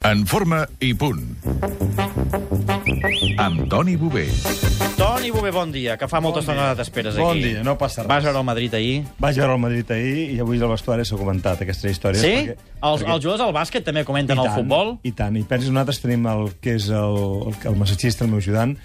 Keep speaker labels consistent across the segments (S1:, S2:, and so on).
S1: En forma i punt. Amb Toni Bové.
S2: Toni Bové, bon dia, que fa molta bon estona t'esperes
S3: Bon
S2: aquí.
S3: dia, no passa res.
S2: Vas veure el Madrid ahir?
S3: Vaig veure el Madrid ahir i avui al vestuari s'ha comentat aquesta història.
S2: Sí? Els, els jugadors del bàsquet també comenten el futbol?
S3: I tant, i penso que nosaltres tenim el que és el, el, el massatgista, el meu ajudant,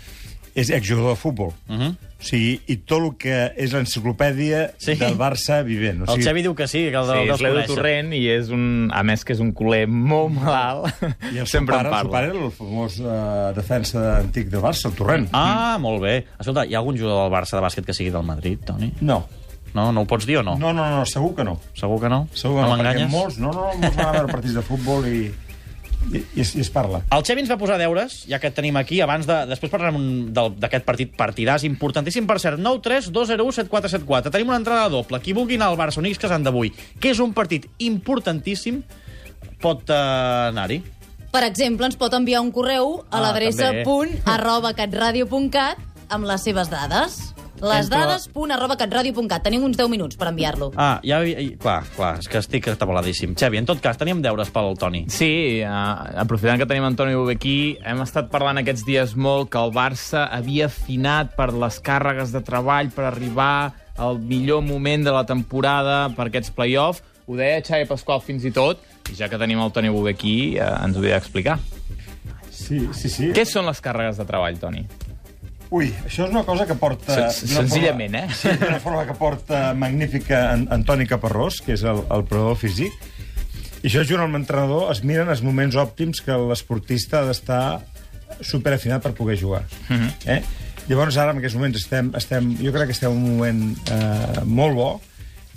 S3: és exjugador de futbol. Uh -huh. O sigui, i tot el que és l'enciclopèdia
S2: Sí.
S3: sí. del Barça vivent. O
S2: El
S3: sigui,
S2: Xavi diu que sí, que el
S4: Sí,
S2: sí,
S4: és
S2: deus
S4: l'Edu
S2: conèixer.
S4: Torrent i és un... A més que és un culer molt malalt.
S3: I el
S4: Sempre
S3: Sempre pare,
S4: en
S3: el seu pare
S4: parla.
S3: era el famós eh, defensa antic de Barça, el Torrent.
S2: Ah, molt bé. Escolta, hi ha algun jugador del Barça de bàsquet que sigui del Madrid, Toni?
S3: No.
S2: No, no ho pots dir o no?
S3: no, no, no, segur que no.
S2: Segur que no?
S3: Segur que no,
S2: no
S3: perquè
S2: m'enganyes?
S3: molts, no, no, molts van a veure partits de futbol i, i, i, es, i es parla.
S2: El Xevi ens va posar deures, ja que et tenim aquí, abans de... Després parlarem un- del- d'aquest partit partidàs importantíssim, per cert, 9-3-2-0-1-7-4-7-4. Tenim una entrada doble. Qui vulgui anar al Barça, Unix Casant d'avui, que és un partit importantíssim, pot eh, anar-hi.
S5: Per exemple, ens pot enviar un correu a
S2: Ah,
S5: l'adreça
S2: també.
S5: punt arroba catradio.cat amb les seves dades. Les
S2: Entre-
S5: dades punt arroba catradio.cat. Tenim uns 10 minuts per enviar-lo.
S2: Ah, ja... i- Clar, clar, és que estic atabaladíssim. Xavi, en tot cas, teníem deures pel Toni.
S4: Sí, eh, aprofitant que tenim Antoni Bové aquí, hem estat parlant aquests dies molt que el Barça havia afinat per les càrregues de treball per arribar al millor moment de la temporada per aquests play-off. Ho deia Xavi Pasqual fins i tot, i ja que tenim el Toni Bové aquí, eh, ens ho havia d'explicar.
S3: Sí, sí, sí.
S4: Què són les càrregues de treball, Toni?
S3: Ui, això és una cosa que porta...
S4: Sen-
S3: d'una
S4: senzillament,
S3: forma,
S4: eh?
S3: Sí, d'una forma que porta magnífica en, Antoni Caparrós, que és el, el provador físic. I això, junt amb l'entrenador, es miren els moments òptims que l'esportista ha d'estar superafinat per poder jugar.
S4: Mhm.
S3: eh? Llavors, ara, en aquests moments, estem, estem, jo crec que estem en un moment eh, molt bo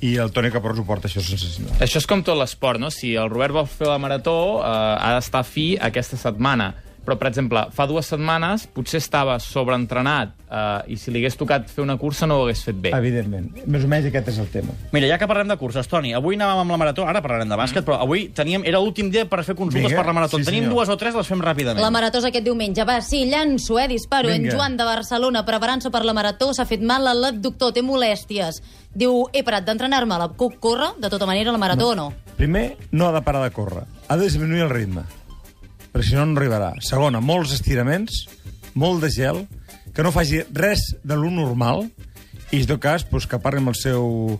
S3: i el Toni Caparrós ho porta això sensacional.
S4: Això és com tot l'esport, no? Si el Robert vol fer la marató, eh, ha d'estar fi aquesta setmana. Però, per exemple, fa dues setmanes potser estava sobreentrenat eh, i si li hagués tocat fer una cursa no ho hagués fet bé.
S3: Evidentment. Més o menys aquest és el tema.
S2: Mira, ja que parlem de curses, Toni, avui anàvem amb la marató, ara parlarem de bàsquet, però avui teníem, era l'últim dia per fer consultes
S3: Vinga,
S2: per la marató.
S3: sí,
S2: tenim
S3: senyor.
S2: dues o tres, les fem ràpidament.
S5: La marató és aquest diumenge. Va, sí, llanço, eh? Disparo.
S3: Vinga.
S5: En Joan de Barcelona, preparant-se per la marató, s'ha fet mal a l'abductor, té molèsties. Diu, he parat d'entrenar-me, la puc córrer? De tota manera, la marató no. o no?
S3: Primer, no ha de parar de córrer. Ha de disminuir el ritme, perquè si no, no arribarà. Segona, molts estiraments, molt de gel, que no faci res de lo normal, i, en tot cas, doncs, que parli amb el seu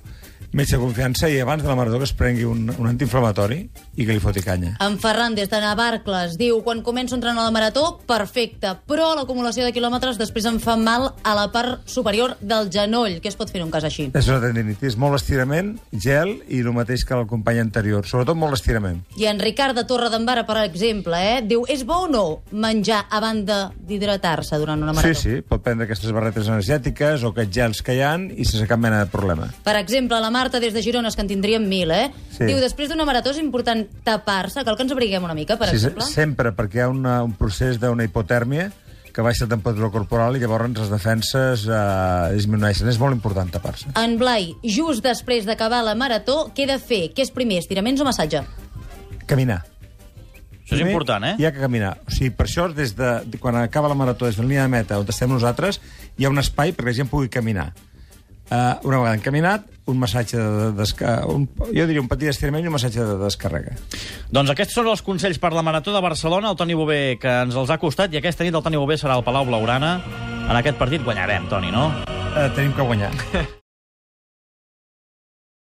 S3: metge de confiança i abans de la marató que es prengui un, un antiinflamatori i que li foti canya.
S5: En Ferran, des de Navarcles, diu quan començo a entrenar la marató, perfecte, però l'acumulació de quilòmetres després em fa mal a la part superior del genoll. Què es pot fer en un cas així?
S3: És una tendinitis, molt estirament, gel i el mateix que el company anterior, sobretot molt estirament.
S5: I en Ricard de Torre d'Embara, per exemple, eh, diu és bo o no menjar a banda d'hidratar-se durant una
S3: Sí,
S5: marató?
S3: sí, pot prendre aquestes barretes energètiques o aquests gels que hi han i sense cap mena de problema.
S5: Per exemple, la Marta des de Girona, és que en tindríem mil, eh?
S3: Sí.
S5: Diu, després d'una marató és important tapar-se, cal que ens abriguem una mica, per
S3: sí, se-
S5: exemple.
S3: Sempre, perquè hi ha una, un procés d'una hipotèrmia que baixa la temperatura corporal i llavors les defenses eh, disminueixen. És molt important tapar-se.
S5: En Blai, just després d'acabar la marató, què he de fer? Què és primer, estiraments o massatge?
S3: Caminar.
S2: Això és important, eh?
S3: Hi ha que caminar. O sigui, per això, des de, de- quan acaba la marató, des de la línia de meta, on estem nosaltres, hi ha un espai perquè la gent pugui caminar. Uh, una vegada han caminat, un massatge de desca... un, jo diria un petit estirament i un massatge de descàrrega.
S2: Doncs aquests són els consells per la Marató de Barcelona, el Toni Bové, que ens els ha costat, i aquesta nit el Toni Bové serà al Palau Blaugrana. En aquest partit guanyarem, Toni, no?
S3: Uh, Eh, tenim que guanyar.